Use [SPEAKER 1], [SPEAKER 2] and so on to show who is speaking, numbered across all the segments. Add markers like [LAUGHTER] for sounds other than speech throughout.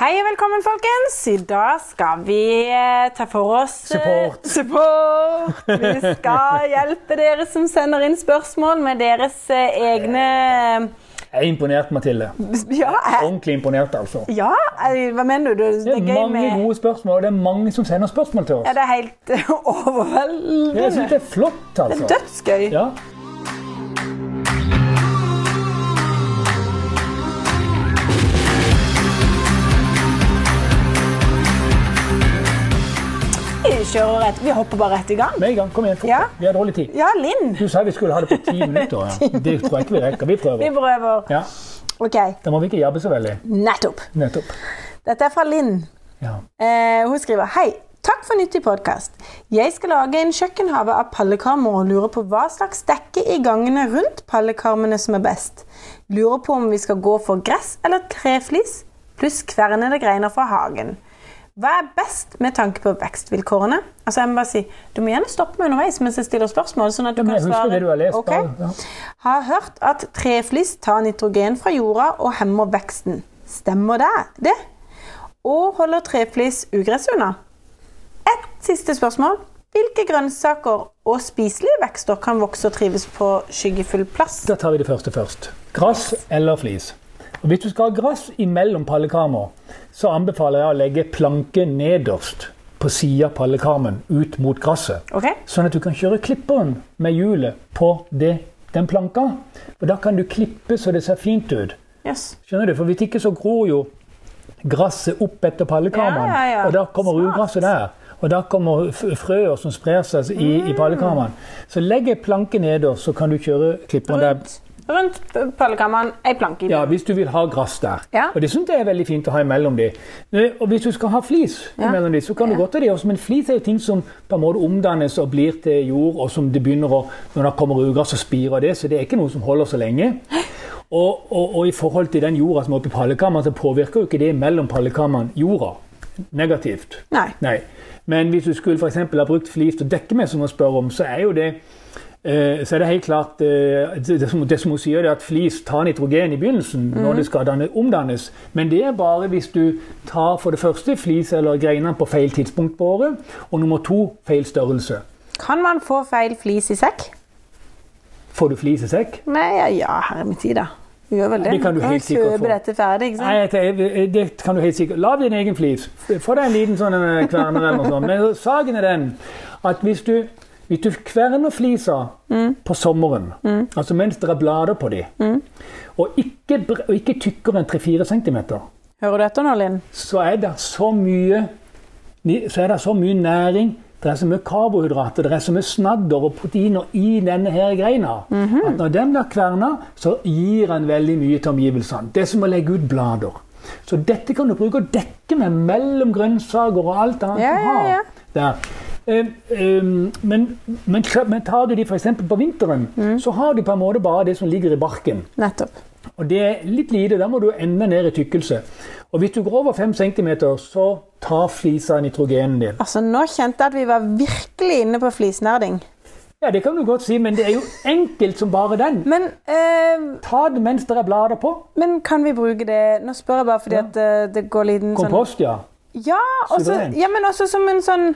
[SPEAKER 1] Hei og velkommen, folkens. I dag skal vi eh, ta for oss eh,
[SPEAKER 2] Support.
[SPEAKER 1] support. Vi
[SPEAKER 2] [LAUGHS]
[SPEAKER 1] skal hjelpe dere som sender inn spørsmål med deres eh, egne eh,
[SPEAKER 2] Jeg er imponert, Mathilde.
[SPEAKER 1] Ja, jeg,
[SPEAKER 2] Ordentlig imponert, altså.
[SPEAKER 1] ja jeg, hva mener du? Det,
[SPEAKER 2] Det er
[SPEAKER 1] er gøy
[SPEAKER 2] mange
[SPEAKER 1] med
[SPEAKER 2] gode spørsmål, og det er mange som sender spørsmål til
[SPEAKER 1] Ja,
[SPEAKER 2] oss.
[SPEAKER 1] det er helt eh, overveldende.
[SPEAKER 2] Jeg synes det er flott, altså.
[SPEAKER 1] Dødsgøy.
[SPEAKER 2] Ja.
[SPEAKER 1] Vi kjører rett. Vi hopper bare rett i gang.
[SPEAKER 2] Med en gang. Kom igjen, fort.
[SPEAKER 1] Ja.
[SPEAKER 2] Vi har dårlig tid.
[SPEAKER 1] Ja, Linn.
[SPEAKER 2] Du sa vi skulle ha det på ti minutter. Ja. Det tror jeg ikke vi rekker. Vi
[SPEAKER 1] Vi
[SPEAKER 2] prøver.
[SPEAKER 1] prøver.
[SPEAKER 2] Ja.
[SPEAKER 1] OK.
[SPEAKER 2] Da må vi ikke jabbe så veldig.
[SPEAKER 1] Nettopp.
[SPEAKER 2] Nettopp.
[SPEAKER 1] Dette er fra Linn.
[SPEAKER 2] Ja.
[SPEAKER 1] Eh, hun skriver Hei, takk for nyttig podkast. Jeg skal lage en kjøkkenhave av pallekarmer og lurer på hva slags dekke i gangene rundt pallekarmene som er best. Lurer på om vi skal gå for gress eller treflis pluss kvernede greiner fra hagen. Hva er best med tanke på vekstvilkårene? Altså jeg må bare si, Du må gjerne stoppe meg underveis mens jeg stiller spørsmål. sånn at du kan
[SPEAKER 2] men jeg husker
[SPEAKER 1] svare.
[SPEAKER 2] det du har lest,
[SPEAKER 1] Ok.
[SPEAKER 2] bare, ja.
[SPEAKER 1] Har hørt at treflis tar nitrogen fra jorda og hemmer veksten. Stemmer det? det? Og holder treflis ugress unna? Et siste spørsmål. Hvilke grønnsaker og spiselige vekster kan vokse og trives på skyggefull plass?
[SPEAKER 2] Da tar vi det første først. Grass eller flis. Og hvis du skal ha grass imellom pallekarmer, så anbefaler jeg å legge planke nederst på sida av pallekarmen ut mot gresset.
[SPEAKER 1] Ok?
[SPEAKER 2] Sånn at du kan kjøre klipperen med hjulet på det, den planka. Og da kan du klippe så det ser fint ut.
[SPEAKER 1] Yes.
[SPEAKER 2] Skjønner du? For hvis ikke så gror jo gresset opp etter pallekarmene.
[SPEAKER 1] Ja, ja, ja.
[SPEAKER 2] Og da kommer
[SPEAKER 1] Smart.
[SPEAKER 2] ugrasset der. Og da kommer f- frøer som sprer seg i,
[SPEAKER 1] Mm.
[SPEAKER 2] i pallekarmene. Så legg ei planke nederst, så kan du kjøre klipperen der.
[SPEAKER 1] Rundt, rundt pallekammeren ei planke. i
[SPEAKER 2] Ja,
[SPEAKER 1] bunnen.
[SPEAKER 2] hvis du vil ha gress der.
[SPEAKER 1] Ja.
[SPEAKER 2] Og det syns jeg er veldig fint å ha imellom de. Eh, Og hvis du skal ha flis
[SPEAKER 1] Ja.
[SPEAKER 2] imellom de, så kan du godt ha de også, men flis er jo ting som på en måte omdannes og blir til jord, og som det begynner å Når det kommer ugress, så spirer det, så det er ikke noe som holder så lenge. Og, og, og i forhold til den jorda som er oppi pallekammeren, så påvirker jo ikke det mellom pallekammeren jorda negativt.
[SPEAKER 1] Nei.
[SPEAKER 2] Nei. Men hvis du skulle for eksempel ha brukt flis til å dekke med, som hun spør om, så er jo det eh, så er det helt klart eh, det, det, som, det som hun sier, det er at flis tar nitrogen i begynnelsen når det skal danne, omdannes. Men det er bare hvis du tar for det første flis eller greiner på feil tidspunkt på året, og nummer to feil størrelse.
[SPEAKER 1] Kan man få feil flis i sekk?
[SPEAKER 2] Får du flis i sekk?
[SPEAKER 1] Nei, ja, ja herre min tid, da. Vi gjør vel det.
[SPEAKER 2] Det kan du
[SPEAKER 1] Vi
[SPEAKER 2] helt sikkert
[SPEAKER 1] kjøpe
[SPEAKER 2] få.
[SPEAKER 1] dette ferdig, ikke sant?
[SPEAKER 2] Nei, det, det kan du helt sikkert. Lag din egen flis. Få deg en liten sånn eh, kverner eller noe sånt. Men saken er den at hvis du, hvis du kverner flisa på sommeren, altså mens det er blader på de, og, ikke, bre- og ikke tykkere enn 3-4 cm,
[SPEAKER 1] Hører du etter nå, Linn?
[SPEAKER 2] så er det så mye ni- så er det så mye næring, det er så mye karbohydrater, det er så mye snadder og proteiner i denne her greina.
[SPEAKER 1] Mhm.
[SPEAKER 2] At når den blir kverna, så gir den veldig mye til omgivelsene. Det er som å legge ut blader. Så dette kan du bruke å dekke med mellom grønnsaker og alt annet
[SPEAKER 1] Ja,
[SPEAKER 2] du
[SPEAKER 1] ja,
[SPEAKER 2] har.
[SPEAKER 1] ja.
[SPEAKER 2] Der. Ehm, ehm, men, men, men tar du de f.eks. på vinteren,
[SPEAKER 1] Mhm.
[SPEAKER 2] så har du på en måte bare det som ligger i barken.
[SPEAKER 1] Nettopp.
[SPEAKER 2] Og det er litt lite, da må du enda ned i tykkelse. Og hvis du går over 5 cm, så tar flisa nitrogenen din.
[SPEAKER 1] Altså, Nå kjente jeg at vi var virkelig inne på flisnerding.
[SPEAKER 2] Ja, det kan du godt si, men det er jo enkelt som bare den.
[SPEAKER 1] Men, eh,
[SPEAKER 2] Ta det mens det er blader på.
[SPEAKER 1] men kan vi bruke det Nå spør jeg bare fordi at eh, det går liten
[SPEAKER 2] Kompost, ja.
[SPEAKER 1] sånn ja, også,
[SPEAKER 2] Suverent.
[SPEAKER 1] ja, men også som en sånn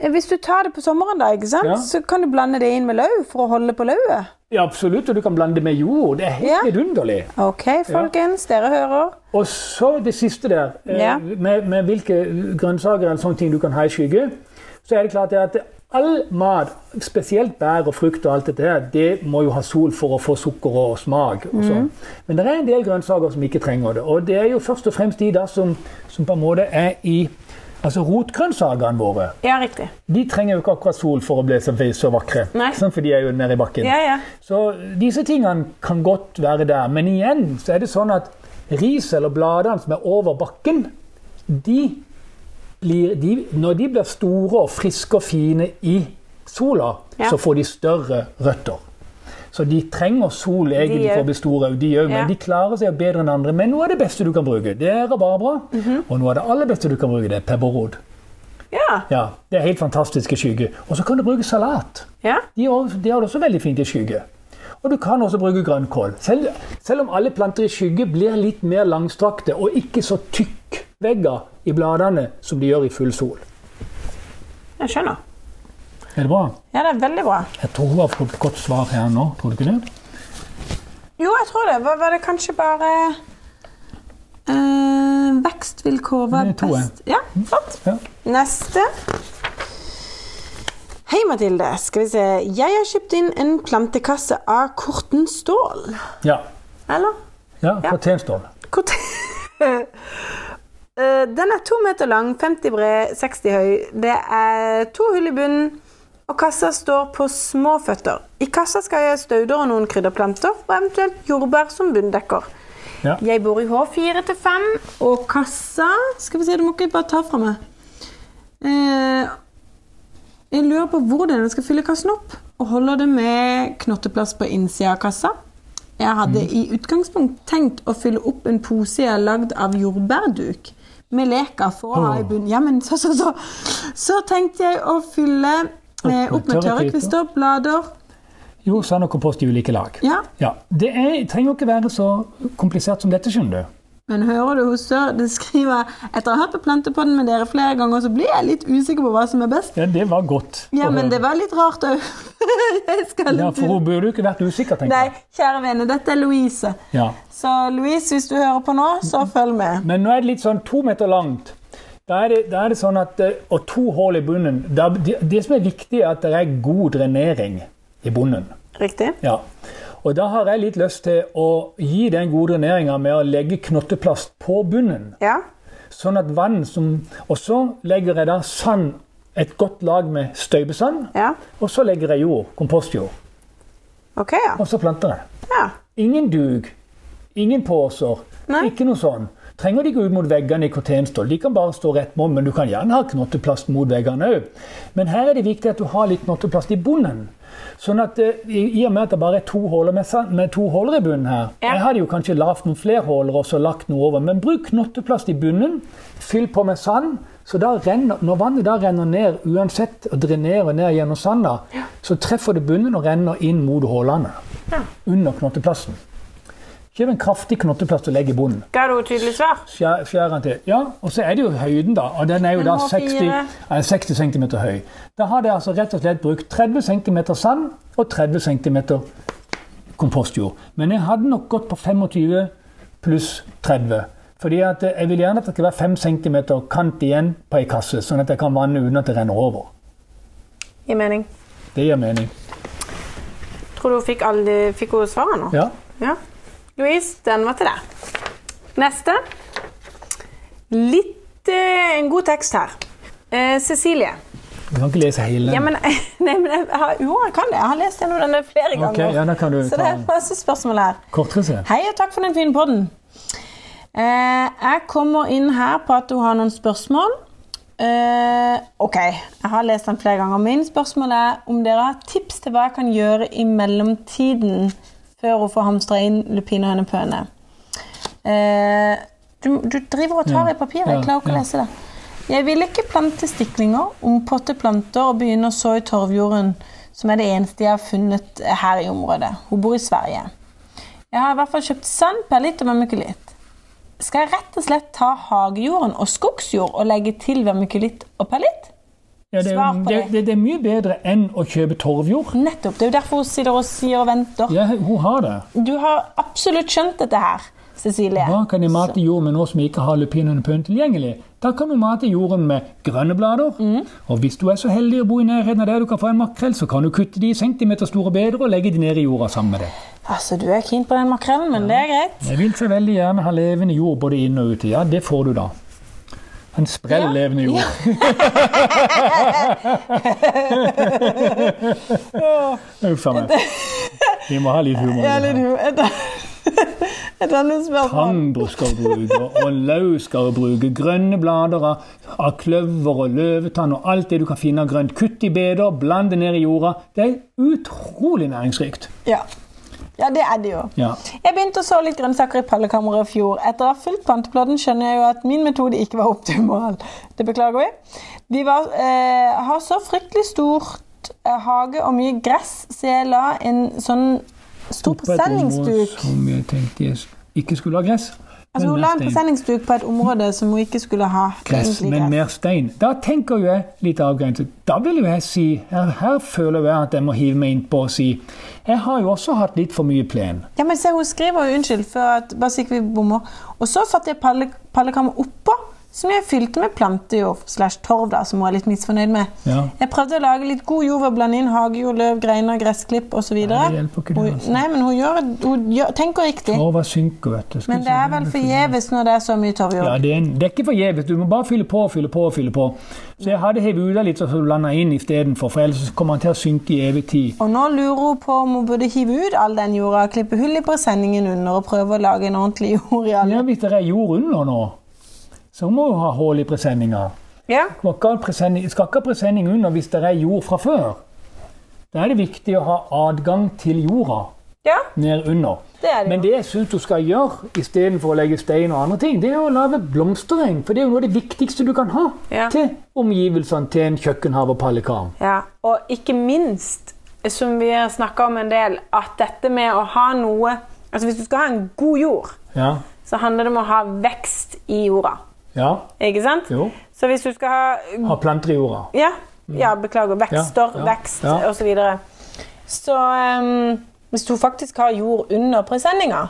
[SPEAKER 1] eh, Hvis du tar det på sommeren, da, ikke sant?
[SPEAKER 2] Ja.
[SPEAKER 1] så kan du blande det inn med løv for å holde på lauvet.
[SPEAKER 2] Ja, absolutt, og du kan blande det med jord. Det er helt
[SPEAKER 1] Ja.
[SPEAKER 2] vidunderlig.
[SPEAKER 1] OK, folkens. Dere hører.
[SPEAKER 2] Og så det siste der, eh,
[SPEAKER 1] Ja.
[SPEAKER 2] med, med hvilke grønnsaker eller sånne ting du kan ha i skygge, så er det klart det at all mat, spesielt bær og frukt og alt dette her, det må jo ha sol for å få sukker og smak. Og
[SPEAKER 1] Mhm.
[SPEAKER 2] sånn. Men det er en del grønnsaker som ikke trenger det. Og det er jo først og fremst de da som, som på en måte er i Altså rotgrønnsakene våre.
[SPEAKER 1] Ja, riktig.
[SPEAKER 2] De trenger jo ikke akkurat sol for å bli så, så vakre.
[SPEAKER 1] Nei.
[SPEAKER 2] Sånn, for de er jo nede i bakken.
[SPEAKER 1] Ja, ja.
[SPEAKER 2] Så disse tingene kan godt være der. Men igjen så er det sånn at ris eller bladene som er over bakken, de blir, de, når de blir store og friske og fine i sola,
[SPEAKER 1] Ja.
[SPEAKER 2] så får de større røtter. Så de trenger sol egentlig
[SPEAKER 1] De
[SPEAKER 2] for
[SPEAKER 1] òg.
[SPEAKER 2] å bli store, de òg, men
[SPEAKER 1] Ja.
[SPEAKER 2] de klarer seg jo bedre enn andre. Men noe av det beste du kan bruke, det er rabarbra.
[SPEAKER 1] Mhm.
[SPEAKER 2] Og noe av det aller beste du kan bruke, det er pepperrot.
[SPEAKER 1] Ja.
[SPEAKER 2] Ja, det er helt fantastiske skygge. Og så kan du bruke salat.
[SPEAKER 1] ja.
[SPEAKER 2] De har, de har det også veldig fint i skygge. Og du kan også bruke grønnkål. Selv, selv om alle planter i skygge blir litt mer langstrakte og ikke så tykk vegger i bladene som de gjør i full sol.
[SPEAKER 1] Jeg skjønner.
[SPEAKER 2] Er det bra?
[SPEAKER 1] Ja, det er veldig bra.
[SPEAKER 2] Jeg tror hun har fått et godt svar her nå, tror du ikke det?
[SPEAKER 1] Jo, jeg tror det. Var, var det kanskje bare eh, Vekstvilkår var
[SPEAKER 2] Det tror jeg.
[SPEAKER 1] best Ja, flott.
[SPEAKER 2] Ja.
[SPEAKER 1] Neste. Hei, Mathilde. Skal vi se. Jeg har kjøpt inn en plantekasse av Korten Stål.
[SPEAKER 2] Ja.
[SPEAKER 1] Eller?
[SPEAKER 2] ja
[SPEAKER 1] Ja.
[SPEAKER 2] Fortjenstål.
[SPEAKER 1] Kort... [LAUGHS] Eh, Den er to meter lang, 50 bred, 60 høy. Det er to hull i bunnen, og kassa står på små føtter. I kassa skal jeg stauder og noen krydderplanter, og eventuelt jordbær som bunndekker.
[SPEAKER 2] Ja.
[SPEAKER 1] Jeg bor i H4 til 5, og kassa Skal vi se, du må ikke bare ta fra meg. Eh, jeg lurer på hvordan jeg skal fylle kassen opp, og holder det med knotteplass på innsida av kassa. Jeg hadde i utgangspunkt tenkt å fylle opp en pose jeg har lagd av jordbærduk med leker for å ha i bunnen. Ja, men så, så, så. så tenkte jeg å fylle eh, opp med tørre kvister, blader
[SPEAKER 2] Jo, sand og kompost i ulike lag.
[SPEAKER 1] Ja,
[SPEAKER 2] Ja. Det er, trenger jo ikke være så komplisert som dette, skjønner du.
[SPEAKER 1] Men hører du hoster, det skriver Etter å ha hørt på Plantepodden med dere flere ganger, så blir jeg litt usikker på hva som er best.
[SPEAKER 2] Ja, det var godt.
[SPEAKER 1] Ja,
[SPEAKER 2] å
[SPEAKER 1] men
[SPEAKER 2] høre.
[SPEAKER 1] det var litt rart òg. [LAUGHS] jeg skal
[SPEAKER 2] Ja,
[SPEAKER 1] litt
[SPEAKER 2] for hun burde jo ikke vært usikker, tenker
[SPEAKER 1] Nei,
[SPEAKER 2] jeg.
[SPEAKER 1] kjære vene, dette er Louise.
[SPEAKER 2] Ja.
[SPEAKER 1] Så Louise, hvis du hører på nå, så følg med.
[SPEAKER 2] Men nå er det litt sånn to meter langt. Da er det, da er det sånn at, eh, Og to hull i bunnen. Da, det, det som er viktig, er at det er god drenering i bunnen.
[SPEAKER 1] Riktig.
[SPEAKER 2] Ja. Og da har jeg litt lyst til å gi den gode dreneringa med å legge knotteplast på bunnen.
[SPEAKER 1] Ja.
[SPEAKER 2] Sånn at vann som Og så legger jeg da sand, et godt lag med støybesand.
[SPEAKER 1] Ja.
[SPEAKER 2] Og så legger jeg jord, kompostjord.
[SPEAKER 1] OK, ja.
[SPEAKER 2] Og så planter jeg.
[SPEAKER 1] ja.
[SPEAKER 2] Ingen dug, ingen poser,
[SPEAKER 1] Nei.
[SPEAKER 2] ikke noe sånn. Trenger de gå ut mot veggene i kortenstål? De kan bare stå rett mot, men du kan gjerne ha knotteplast mot veggene òg. Men her er det viktig at du har litt knotteplast i bunnen. Sånn at eh, I i og med at det bare er to huller med, sand- med to huller i bunnen her
[SPEAKER 1] Ja.
[SPEAKER 2] Jeg hadde jo kanskje lagd noen flere huller og så lagt noe over, men bruk knotteplast i bunnen. Fyll på med sand. så da renner, Når vannet da renner ned uansett og drenerer ned gjennom sanda, så treffer det bunnen og renner inn mot hullene under knotteplassen. Kjøp en kraftig knotteplast og legg i bunnen.
[SPEAKER 1] Ga du et tydelig svar?
[SPEAKER 2] Skjær, skjær den til. Ja, og så er det jo høyden, da. Og den er jo
[SPEAKER 1] Den
[SPEAKER 2] da
[SPEAKER 1] må
[SPEAKER 2] 60,
[SPEAKER 1] fire.
[SPEAKER 2] ja, 60 cm høy. Da har de altså rett og slett brukt 30 cm sand og 30 cm kompostjord. Men jeg hadde nok gått på 25 pluss 30. Fordi at eh, jeg vil gjerne at det skal være 5 cm kant igjen på ei kasse, sånn at jeg kan vanne uten at det renner over.
[SPEAKER 1] Gir mening.
[SPEAKER 2] Det gir mening.
[SPEAKER 1] Tror du hun fikk, alle, de- fikk hun svaret nå?
[SPEAKER 2] Ja.
[SPEAKER 1] Ja. Louise, den var til deg. Neste. Litt eh, en god tekst her. Eh, Cecilie.
[SPEAKER 2] Du kan ikke lese hele.
[SPEAKER 1] Ja, men, [LAUGHS] nei, men jeg har, jo, jeg kan det. Jeg har lest gjennom denne flere ganger.
[SPEAKER 2] Ok, ja, da kan du
[SPEAKER 1] Så det
[SPEAKER 2] ta
[SPEAKER 1] er
[SPEAKER 2] den.
[SPEAKER 1] masse spørsmål her.
[SPEAKER 2] Kortrisse.
[SPEAKER 1] Hei, og takk for den fine podden. Eh, jeg kommer inn her på at du har noen spørsmål. Eh, ok, jeg har lest den flere ganger. Mine spørsmål er om dere har tips til hva jeg kan gjøre i mellomtiden før hun får hamstra inn lupin og hønepøne. Eh, du, du driver og tar i papiret.
[SPEAKER 2] Ja,
[SPEAKER 1] Jeg klarer ikke
[SPEAKER 2] ja.
[SPEAKER 1] å lese det. Jeg vil ikke plante stiklinger, ompotte planter og begynne å så i torvjorden, som er det eneste jeg har funnet her i området. Hun bor i Sverige. Jeg har i hvert fall kjøpt sand, perlitt og vermikulitt. Skal jeg rett og slett ta hagejorden og skogsjord og legge til vermikulitt og perlitt?
[SPEAKER 2] Ja, det, er
[SPEAKER 1] Svar
[SPEAKER 2] jo-
[SPEAKER 1] på
[SPEAKER 2] det,
[SPEAKER 1] det.
[SPEAKER 2] det, det er mye bedre enn å kjøpe torvjord.
[SPEAKER 1] Nettopp. Det er jo derfor hun sitter og sier og venter.
[SPEAKER 2] Ja, hun har det.
[SPEAKER 1] Du har absolutt skjønt dette her, Cecilie.
[SPEAKER 2] Hva kan de mate jord med nå som ikke har lupinhønepønn tilgjengelig? Da kan du mate jorden med grønne blader.
[SPEAKER 1] Mm.
[SPEAKER 2] Og hvis du er så heldig å bo i nærheten av der du kan få en makrell, så kan du kutte de i centimeter store beder og legge de ned i jorda sammen med det.
[SPEAKER 1] Altså, du er keen på den makrellen, men det er greit.
[SPEAKER 2] Jeg vil så veldig gjerne ha levende jord både inne og ute. Ja, det får du da. En sprell
[SPEAKER 1] Ja.
[SPEAKER 2] levende jord. Uff a meg. Vi må ha litt humor. i
[SPEAKER 1] Ja,
[SPEAKER 2] det
[SPEAKER 1] eller
[SPEAKER 2] her.
[SPEAKER 1] du, et, [LAUGHS] et annet spørsmål.
[SPEAKER 2] Tang skal du bruke, og løv skal du bruke. Grønne blader av- av kløver og løvetann og alt det du kan finne av grønt. Kutt i beder, bland det ned i jorda. Det er utrolig næringsrikt.
[SPEAKER 1] Ja. ja, det er det jo.
[SPEAKER 2] Ja.
[SPEAKER 1] Jeg begynte å så litt grønnsaker i pallekammeret i fjor. Etter å ha fulgt planteplodden skjønner jeg jo at min metode ikke var optimal. Det beklager vi. Vi var, eh, har så fryktelig stort eh, hage og mye gress, så jeg la en sånn stor
[SPEAKER 2] På et område
[SPEAKER 1] presenningsduk
[SPEAKER 2] Som jeg tenkte jeg ikke skulle ha gress.
[SPEAKER 1] Altså, hun la en presenningsduk på et område som hun ikke skulle ha.
[SPEAKER 2] gress,
[SPEAKER 1] egentlig
[SPEAKER 2] men
[SPEAKER 1] gress.
[SPEAKER 2] mer stein. Da tenker jo jeg litt avgrenset. Da vil jo jeg si her, her føler jeg at jeg må hive meg innpå og si Jeg har jo også hatt litt for mye plen.
[SPEAKER 1] Ja, men se, Hun skriver jo 'unnskyld' før at bare så ikke vi bommer. Og så satte jeg palle, pallekammer oppå, som jeg fylte med plantejord slash torv, da, som hun er litt misfornøyd med.
[SPEAKER 2] Ja.
[SPEAKER 1] Jeg prøvde å lage litt god jord ved å blande inn hagejord, løv, greiner, gressklipp osv.
[SPEAKER 2] Nei, det hjelper ikke det, altså.
[SPEAKER 1] Nei, men hun, gjør, hun gjør, tenker riktig.
[SPEAKER 2] Torva synker, vet du. Skal
[SPEAKER 1] Men
[SPEAKER 2] vi
[SPEAKER 1] det
[SPEAKER 2] se.
[SPEAKER 1] er vel forgjeves når det er så mye torvjord.
[SPEAKER 2] Ja, det er, en, det er ikke forgjeves. Du må bare fylle på og fylle på. og fylle på. Så jeg hadde hevet ut av litt og så blanda inn istedenfor, for ellers kommer han til å synke i evig tid.
[SPEAKER 1] Og nå lurer hun på om hun burde hive ut all den jorda, klippe hull i presenningen under og prøve å lage en ordentlig jord i alle.
[SPEAKER 2] Ja, hvis det er jord under nå, så må du ha hull i presenninga.
[SPEAKER 1] Ja.
[SPEAKER 2] Du må ikke ha presenning- skal ikke ha presenning under hvis det er jord fra før. Da er det viktig å ha adgang til jorda
[SPEAKER 1] ja,
[SPEAKER 2] ned under.
[SPEAKER 1] det er det.
[SPEAKER 2] Men det jeg syns du skal gjøre istedenfor å legge stein og andre ting, det er å lage blomstereng. For det er jo noe av det viktigste du kan ha
[SPEAKER 1] Ja.
[SPEAKER 2] til omgivelsene til en kjøkkenhave og pallekar.
[SPEAKER 1] Ja, og ikke minst, som vi har snakka om en del, at dette med å ha noe Altså hvis du skal ha en god jord,
[SPEAKER 2] Ja.
[SPEAKER 1] så handler det om å ha vekst i jorda.
[SPEAKER 2] ja.
[SPEAKER 1] Ikke sant?
[SPEAKER 2] Jo.
[SPEAKER 1] Så hvis du skal ha
[SPEAKER 2] Ha planter i jorda.
[SPEAKER 1] Ja, ja beklager. Vekster,
[SPEAKER 2] Ja, ja,
[SPEAKER 1] vekst
[SPEAKER 2] ja.
[SPEAKER 1] og osv. Så, videre. så ehm, hvis du faktisk har jord under presenninga,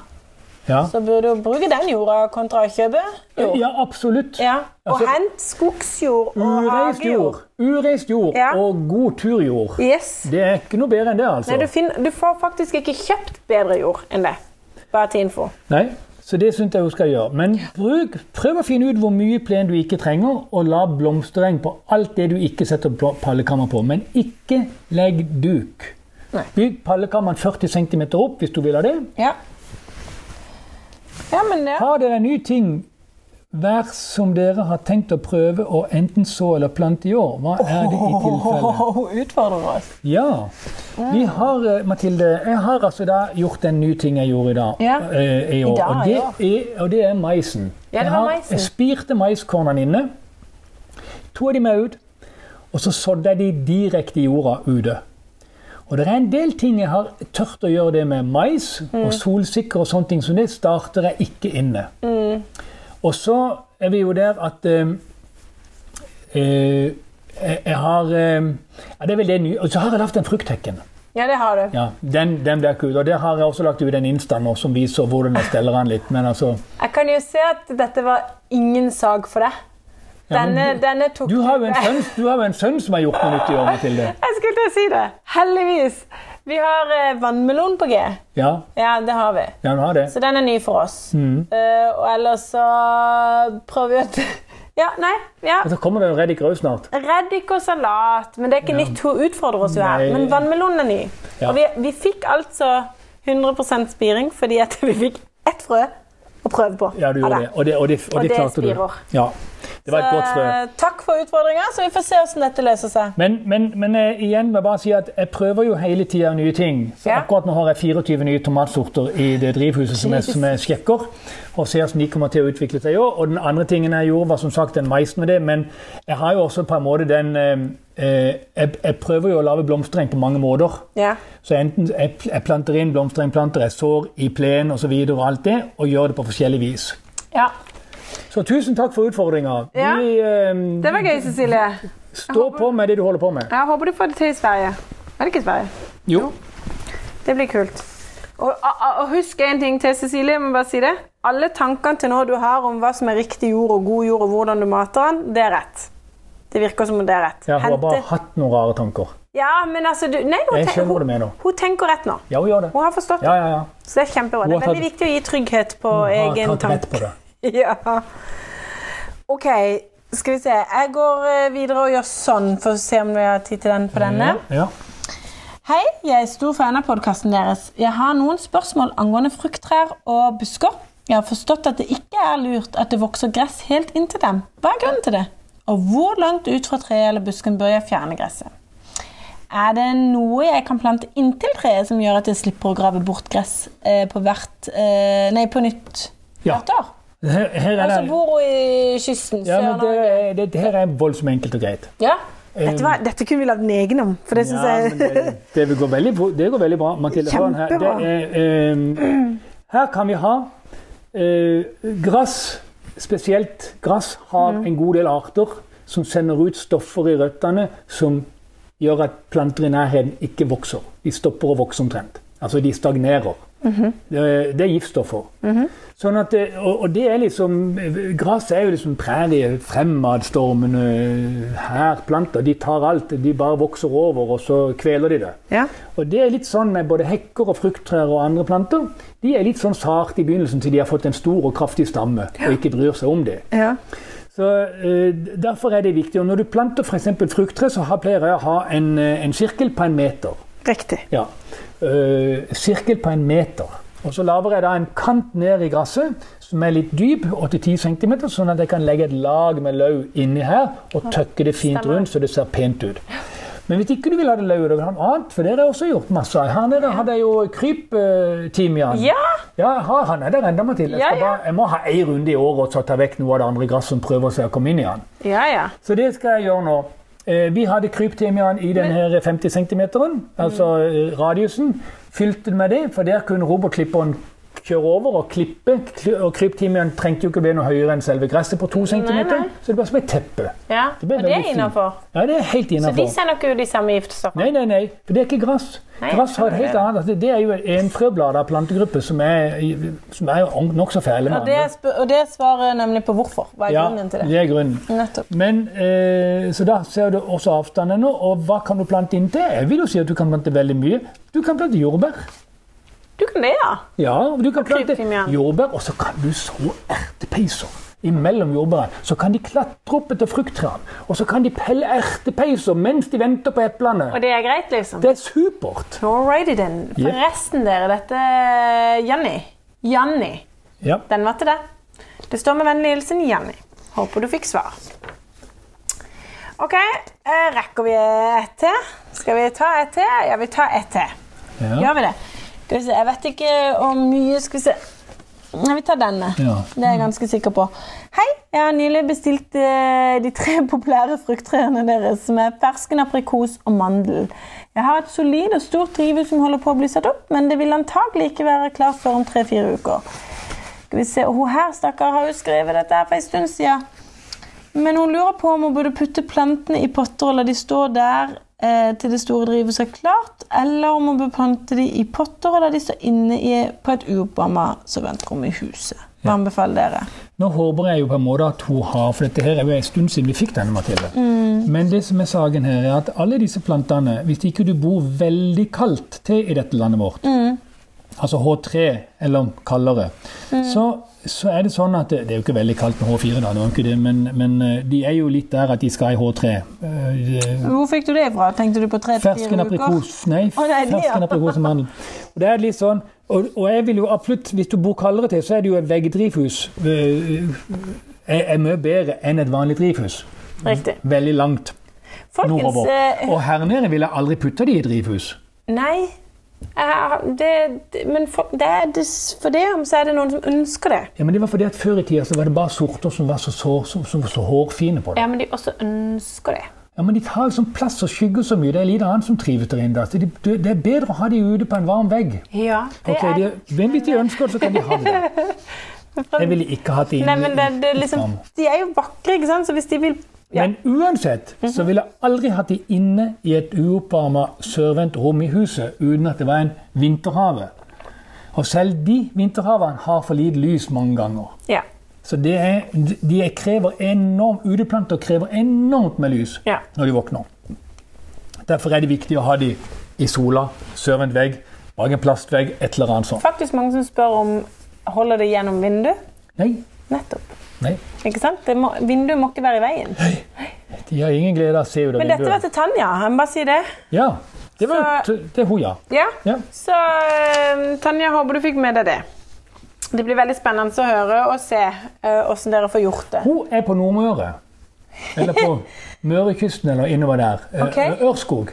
[SPEAKER 2] Ja.
[SPEAKER 1] så burde du bruke den jorda kontra å kjøpe jord.
[SPEAKER 2] ja, absolutt.
[SPEAKER 1] Ja. Og
[SPEAKER 2] Altså,
[SPEAKER 1] hent skogsjord og
[SPEAKER 2] Ureist jord,
[SPEAKER 1] hagejord.
[SPEAKER 2] Ureist jord
[SPEAKER 1] Ja.
[SPEAKER 2] og god turjord.
[SPEAKER 1] Yes.
[SPEAKER 2] Det er ikke noe bedre enn det, altså.
[SPEAKER 1] Nei, du, finner, du får faktisk ikke kjøpt bedre jord enn det. Bare til info.
[SPEAKER 2] Nei, så det syns jeg hun skal gjøre. Men bruk, prøv å finne ut hvor mye plen du ikke trenger, og la blomstereng på alt det du ikke setter pl- pallekammer på. Men ikke legg duk.
[SPEAKER 1] Nei.
[SPEAKER 2] Bygg pallekammeren 40 cm opp hvis du vil ha det.
[SPEAKER 1] Ja. Ja, men det
[SPEAKER 2] Har dere en ny ting hver som dere har tenkt å prøve å enten så eller plante i år? Hva er det i tilfelle?
[SPEAKER 1] Hun [LAUGHS] utfordrer oss.
[SPEAKER 2] Ja. Vi har, eh, Mathilde, jeg har altså da gjort en ny ting jeg gjorde i dag.
[SPEAKER 1] Ja.
[SPEAKER 2] eh, I år.
[SPEAKER 1] I dag,
[SPEAKER 2] og, det er, og det er maisen.
[SPEAKER 1] Ja, det
[SPEAKER 2] jeg
[SPEAKER 1] var
[SPEAKER 2] har
[SPEAKER 1] maisen.
[SPEAKER 2] jeg spirte maiskornene inne, tok de med ut, og så sådde jeg de direkte i jorda ute. Og det er en del ting jeg har tørt å gjøre det med mais
[SPEAKER 1] Mm.
[SPEAKER 2] og solsikker og sånne ting, så det starter jeg ikke inne.
[SPEAKER 1] Mm.
[SPEAKER 2] Og så er vi jo der at eh, eh, jeg, jeg har eh, ja, det er vel det nye. Og så har jeg lagt en frukttekken.
[SPEAKER 1] Ja, det har du.
[SPEAKER 2] Ja, den, den blir ikke ut. Og der har jeg også lagt ut en Insta nå som viser hvordan jeg steller den litt. Men altså,
[SPEAKER 1] Jeg kan jo se at dette var ingen sag for deg.
[SPEAKER 2] Ja, men
[SPEAKER 1] Denne, denne tok
[SPEAKER 2] du
[SPEAKER 1] [LAUGHS]
[SPEAKER 2] har jo en sønn, du har jo en sønn som har gjort noe nytt i år, Mathilde.
[SPEAKER 1] Jeg skulle til å si det. Heldigvis. Vi har eh, vannmelon på G.
[SPEAKER 2] Ja,
[SPEAKER 1] Ja, det har vi.
[SPEAKER 2] ja, du har det.
[SPEAKER 1] Så den er ny for oss.
[SPEAKER 2] Mm.
[SPEAKER 1] Eh, og ellers så prøver vi at [LAUGHS] Ja, nei. Ja.
[SPEAKER 2] Og så kommer det en reddik rød snart.
[SPEAKER 1] Reddik og salat, men det er ikke nytt. Hun utfordrer oss jo her.
[SPEAKER 2] Nei.
[SPEAKER 1] Men vannmelonen er ny.
[SPEAKER 2] Ja.
[SPEAKER 1] Og vi, vi fikk altså 100 spiring fordi at vi fikk ett frø å prøve på.
[SPEAKER 2] Ja, du
[SPEAKER 1] av
[SPEAKER 2] gjorde det. Og det, og det, og
[SPEAKER 1] Og
[SPEAKER 2] det
[SPEAKER 1] det
[SPEAKER 2] klarte du.
[SPEAKER 1] spirer.
[SPEAKER 2] Ja, det var et godt frø.
[SPEAKER 1] Eh, Takk for utfordringa, så vi får se hvordan dette løser seg.
[SPEAKER 2] Men, men, men eh, igjen må jeg bare si at jeg prøver jo hele tida nye ting. Så
[SPEAKER 1] Ja.
[SPEAKER 2] Akkurat nå har jeg 24 nye tomatsorter i det drivhuset som jeg, som jeg sjekker. Og ser hvordan de kommer til å utvikle seg i år. Og den andre tingen jeg gjorde, var som sagt den maisen med det. Men jeg har jo også på en måte den eh, eh, jeg, jeg prøver jo å lage blomstereng på mange måter.
[SPEAKER 1] Ja.
[SPEAKER 2] Så enten jeg, pl- jeg planter inn blomsterengplanter, jeg sår i plen osv. Og, og alt det, og gjør det på forskjellig vis.
[SPEAKER 1] ja.
[SPEAKER 2] Så tusen takk for utfordringa.
[SPEAKER 1] Ja.
[SPEAKER 2] Vi eh,
[SPEAKER 1] Det var gøy, Cecilie.
[SPEAKER 2] står på med det du holder på med.
[SPEAKER 1] Jeg håper du får det til i Sverige. Er det ikke Sverige?
[SPEAKER 2] Jo.
[SPEAKER 1] Det blir kult. Og, og, og husk en ting til, Cecilie. Jeg må bare si det. Alle tankene til nå du har om hva som er riktig jord og god jord, og hvordan du mater den, det er rett. Det virker som om det er rett.
[SPEAKER 2] Ja, hun har
[SPEAKER 1] Hente-
[SPEAKER 2] bare hatt noen rare tanker.
[SPEAKER 1] Ja, men altså du, nei, hun,
[SPEAKER 2] Jeg
[SPEAKER 1] ten-
[SPEAKER 2] skjønner hva
[SPEAKER 1] hun,
[SPEAKER 2] du mener.
[SPEAKER 1] hun tenker rett nå.
[SPEAKER 2] Ja, hun gjør det.
[SPEAKER 1] Hun har forstått
[SPEAKER 2] Ja,
[SPEAKER 1] det,
[SPEAKER 2] ja, ja.
[SPEAKER 1] så det er kjempebra. Det
[SPEAKER 2] Hun
[SPEAKER 1] er
[SPEAKER 2] har
[SPEAKER 1] veldig viktig å gi trygghet på
[SPEAKER 2] Hun har
[SPEAKER 1] egen
[SPEAKER 2] tatt rett på
[SPEAKER 1] tanke.
[SPEAKER 2] det.
[SPEAKER 1] [LAUGHS] Ja. OK, skal vi se. Jeg går eh, videre og gjør sånn, for å se om vi har tid til den på
[SPEAKER 2] Mm.
[SPEAKER 1] denne.
[SPEAKER 2] Ja.
[SPEAKER 1] Hei, jeg er stor fan av podkasten deres. Jeg har noen spørsmål angående frukttrær og busker. Jeg har forstått at det ikke er lurt at det vokser gress helt inntil dem. Hva er grunnen til det? Og hvor langt ut fra treet eller busken bør jeg fjerne gresset? Er det noe jeg kan plante inntil treet som gjør at jeg slipper å grave bort gress eh, på hvert eh, Nei, på nytt
[SPEAKER 2] Ja.
[SPEAKER 1] hvert år?
[SPEAKER 2] Her, her er
[SPEAKER 1] Altså
[SPEAKER 2] det,
[SPEAKER 1] bor hun i kysten?
[SPEAKER 2] ja, men det,
[SPEAKER 1] Sør-Norge?
[SPEAKER 2] er- det, det her er voldsomt enkelt og greit.
[SPEAKER 1] Ja. Dette, var, dette kunne vi lagd en egen om, for det syns
[SPEAKER 2] Ja,
[SPEAKER 1] jeg
[SPEAKER 2] men det, det går veldig, bra- det går veldig bra. Mathilde, hør den ehm, her. Det
[SPEAKER 1] Kjempebra.
[SPEAKER 2] er, eh, her kan vi ha Eh, gress, spesielt gress, har en god del arter som sender ut stoffer i røttene som gjør at planter i nærheten ikke vokser. De stopper å vokse omtrent. Altså de stagnerer. det, det er giftstoffer. sånn at, det- og, og det er liksom Gress er jo liksom prærie, fremadstormende hærplanter. De tar alt. De bare vokser over, og så kveler de det.
[SPEAKER 3] Ja.
[SPEAKER 2] Og det er litt sånn med både hekker og frukttrær og andre planter. De er litt sånn sarte i begynnelsen til de har fått en stor og kraftig stamme og ikke bryr seg om det.
[SPEAKER 3] ja.
[SPEAKER 2] Så eh, Derfor er det viktig. Og når du planter f.eks. frukttre, så har- pleier jeg å ha en, eh, en sirkel på en meter.
[SPEAKER 3] Riktig.
[SPEAKER 2] Ja. Eh, sirkel på en meter. Og så lager jeg da en kant ned i gresset som er litt dyp, 8-10 cm, sånn at jeg kan legge et lag med løv inni her og tøkke det fint
[SPEAKER 1] Stemmer.
[SPEAKER 2] rundt så det ser pent ut. Men hvis ikke du vil ha det løv, da vil du ha noe annet, for det har jeg også gjort masse av. Her nede hadde jeg jo kryptimian.
[SPEAKER 1] Ja!
[SPEAKER 2] Ja, jeg har han er der ennå, Mathilde. Jeg,
[SPEAKER 1] Ja,
[SPEAKER 2] skal
[SPEAKER 1] ja.
[SPEAKER 2] bare, jeg må ha én runde i året og så ta vekk noe av det andre gresset som prøver seg å komme inn i han.
[SPEAKER 1] Ja, ja.
[SPEAKER 2] Så det skal jeg gjøre nå. Eh, Vi hadde kryptimian i den her 50 cm, altså eh, radiusen. Fylte den med det, for der kunne robotklipperen kjøre over og klippe. Kli- Og kryptimian trengte jo ikke bli noe høyere enn selve gresset på 2 cm,
[SPEAKER 1] nei.
[SPEAKER 2] så det var som et teppe.
[SPEAKER 1] ja.
[SPEAKER 2] Det ble
[SPEAKER 1] Og det
[SPEAKER 2] veldig
[SPEAKER 1] er
[SPEAKER 2] fint.
[SPEAKER 1] innafor.
[SPEAKER 2] Ja, det er helt
[SPEAKER 1] Så de
[SPEAKER 2] innafor.
[SPEAKER 1] sender ikke ut de samme giftstoffene?
[SPEAKER 2] Nei, nei, nei, for det er ikke gress.
[SPEAKER 1] Nei,
[SPEAKER 2] Gress har et helt
[SPEAKER 1] det-
[SPEAKER 2] annet altså, Det er jo en frøblad av plantegruppe som er, som er nokså fæle. med
[SPEAKER 1] Og det,
[SPEAKER 2] andre.
[SPEAKER 1] sp- og det svarer nemlig på hvorfor. Hva er
[SPEAKER 2] Ja,
[SPEAKER 1] grunnen til det?
[SPEAKER 2] det er grunnen.
[SPEAKER 1] Nettopp.
[SPEAKER 2] Men, eh, så da ser du også avstanden nå, og hva kan du plante inntil? Jeg vil jo si at du kan plante veldig mye. Du kan plante jordbær.
[SPEAKER 1] Du kan det, ja.
[SPEAKER 2] Ja, og du kan plante
[SPEAKER 1] kryptimian.
[SPEAKER 2] jordbær, og så kan du så ertepeiser. Imellom jordbærene. Så kan de klatre opp etter frukttrærne. Og så kan de pelle ertepeiser mens de venter på eplene.
[SPEAKER 1] Og det er greit, liksom?
[SPEAKER 2] Det er supert.
[SPEAKER 1] Alrighty then. Forresten, dere, dette Janni. Janni.
[SPEAKER 2] Ja.
[SPEAKER 1] Den var til deg. Det står med vennlig hilsen Janni. Håper du fikk svar. OK, eh, rekker vi et til? Skal vi ta et til? Ja, vi tar et til.
[SPEAKER 2] Ja.
[SPEAKER 1] Gjør vi det? Skal vi se, Jeg vet ikke om mye Skal vi se. Nei, vi tar denne.
[SPEAKER 2] Ja.
[SPEAKER 1] Det er jeg ganske sikker på. Hei, jeg har nylig bestilt eh, de tre [LAUGHS] populære frukttrærne deres, som er fersken, aprikos og mandel. Jeg har et solid og stort drivhus som holder på å bli satt opp, men det vil antagelig ikke være klart før om tre-fire uker. Skal vi se, og Hun her stakkar har jo skrevet dette her for en stund siden. Men hun lurer på om hun burde putte plantene i potter og la de stå der eh, til det store drivhuset er klart, eller om hun bør plante de i potter og la de stå inne i, på et uoppvarma servantrom i huset. Hva anbefaler dere?
[SPEAKER 2] Nå håper jeg jo på en måte at hun har, for dette her er jo en stund siden vi fikk denne, Mathilde. Men det som er saken her, er at alle disse plantene, hvis ikke du bor veldig kaldt til i dette landet vårt, altså H3 eller kaldere, så, så er det sånn at det, det er jo ikke veldig kaldt med H4, da, det var jo ikke det, men, men eh, de er jo litt der at de skal i H3. Eh,
[SPEAKER 1] Hvor fikk du det fra? Tenkte du på tre til
[SPEAKER 2] Fersken
[SPEAKER 1] fire uker?
[SPEAKER 2] aprikos. Nei,
[SPEAKER 1] Å, nei, de, ja.
[SPEAKER 2] fersken aprikos og mandel. Og det er litt sånn, og, og jeg vil jo absolutt, hvis du bor kaldere til, så er det jo et veggdrivhus. øh, Er, er mye bedre enn et vanlig drivhus.
[SPEAKER 1] Riktig.
[SPEAKER 2] Veldig langt
[SPEAKER 1] Folkens
[SPEAKER 2] Mm. nordover.
[SPEAKER 1] eh,
[SPEAKER 2] Og her nede vil jeg aldri putte de i drivhus.
[SPEAKER 1] Nei. Jeg har- det, det, men for det, er dess- for det om så er det noen som ønsker det.
[SPEAKER 2] Ja, men det var fordi at Før i tida så var det bare sorter som var så, sår- som- som var så hårfine på det.
[SPEAKER 1] Ja, men de også ønsker det.
[SPEAKER 2] Ja, men De tar jo sånn plass og skygger så mye. Det er lite annet som trives der inne. da. Så de- Det det er bedre å ha de ute på en varm vegg.
[SPEAKER 1] Ja, det
[SPEAKER 2] Ok, de, men Hvis de ønsker det, så kan de
[SPEAKER 1] [LAUGHS]
[SPEAKER 2] ha det. der.
[SPEAKER 1] er
[SPEAKER 2] Jeg ville ikke hatt det inne.
[SPEAKER 1] Nei, men det, det er
[SPEAKER 2] i- i
[SPEAKER 1] liksom,
[SPEAKER 2] varmen.
[SPEAKER 1] De er jo vakre, ikke sant? Så hvis de vil ja. Mhm.
[SPEAKER 2] Men uansett så ville jeg aldri hatt de inne i et uoppvarma sørvendt rom i huset uten at det var en vinterhave. Og selv de vinterhavene har for lite lys mange ganger.
[SPEAKER 1] ja.
[SPEAKER 2] Så det er, de er krever enorm, Udeplanter krever enormt med lys
[SPEAKER 1] Ja.
[SPEAKER 2] når de våkner. Derfor er det viktig å ha de i sola, sørvendt vegg, bak en plastvegg, et eller annet sånt.
[SPEAKER 1] Faktisk mange som spør om holder det gjennom vinduet.
[SPEAKER 2] Nei,
[SPEAKER 1] Nettopp.
[SPEAKER 2] nei,
[SPEAKER 1] Ikke sant? Det må, vinduet må ikke være i veien.
[SPEAKER 2] de har ingen glede av å se ut av
[SPEAKER 1] Men dette var til Tanja. Jeg må bare si det.
[SPEAKER 2] Ja, det var jo t- det er hun, ja.
[SPEAKER 1] Ja.
[SPEAKER 2] ja.
[SPEAKER 1] Så eh, Tanja, håper du fikk med deg det. Det blir veldig spennende å høre og se
[SPEAKER 3] eh,
[SPEAKER 1] åssen dere får gjort det.
[SPEAKER 2] Hun er på Nordmøre. Eller på Mørekysten, eller innover der. Eh,
[SPEAKER 1] Ok.
[SPEAKER 2] Ørskog.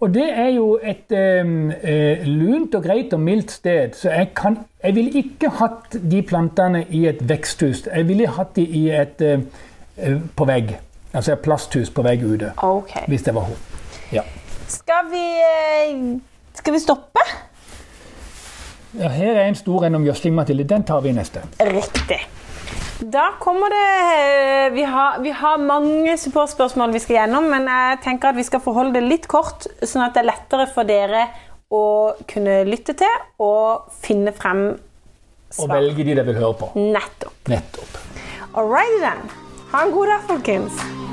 [SPEAKER 2] Og det er jo et em, eh, lunt og greit og mildt sted, så jeg, kan, jeg ville ikke hatt de plantene i et veksthus. Jeg ville hatt de i et eh, eh, på vegg. Altså et plasthus på vegg ute.
[SPEAKER 1] Ok.
[SPEAKER 2] Hvis det var hun. Ja.
[SPEAKER 1] Skal vi eh, Skal vi stoppe?
[SPEAKER 2] Ja, her er en stor en om gjødsling, Mathilde. Den tar vi i neste.
[SPEAKER 3] Riktig. Da kommer det eh, Vi har, vi har mange supportspørsmål vi skal gjennom, men jeg tenker at vi skal forholde det litt kort, sånn at det er lettere for dere å kunne lytte til og finne frem
[SPEAKER 2] Og
[SPEAKER 3] svar.
[SPEAKER 2] velge de dere vil høre på.
[SPEAKER 3] Nettopp.
[SPEAKER 2] Nettopp.
[SPEAKER 3] All righty then. Ha en god dag, folkens.